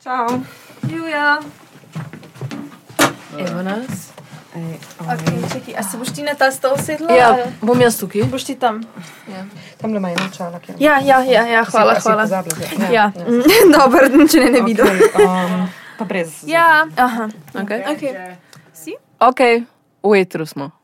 Ciao. Julia. Evo nas. Ej, Okay, čekaj, a se boš ti na ta stol sedla? Ja. Ja, bom jaz tukaj. Boš ti tam? Tam le ima eno čalo, ki Ja, ja, ja, ja hvala, hvala. Ja, dobro, če ne, ne vidim. Um, pa brez. Ja, aha. Okay. Okay. ok, v etru smo.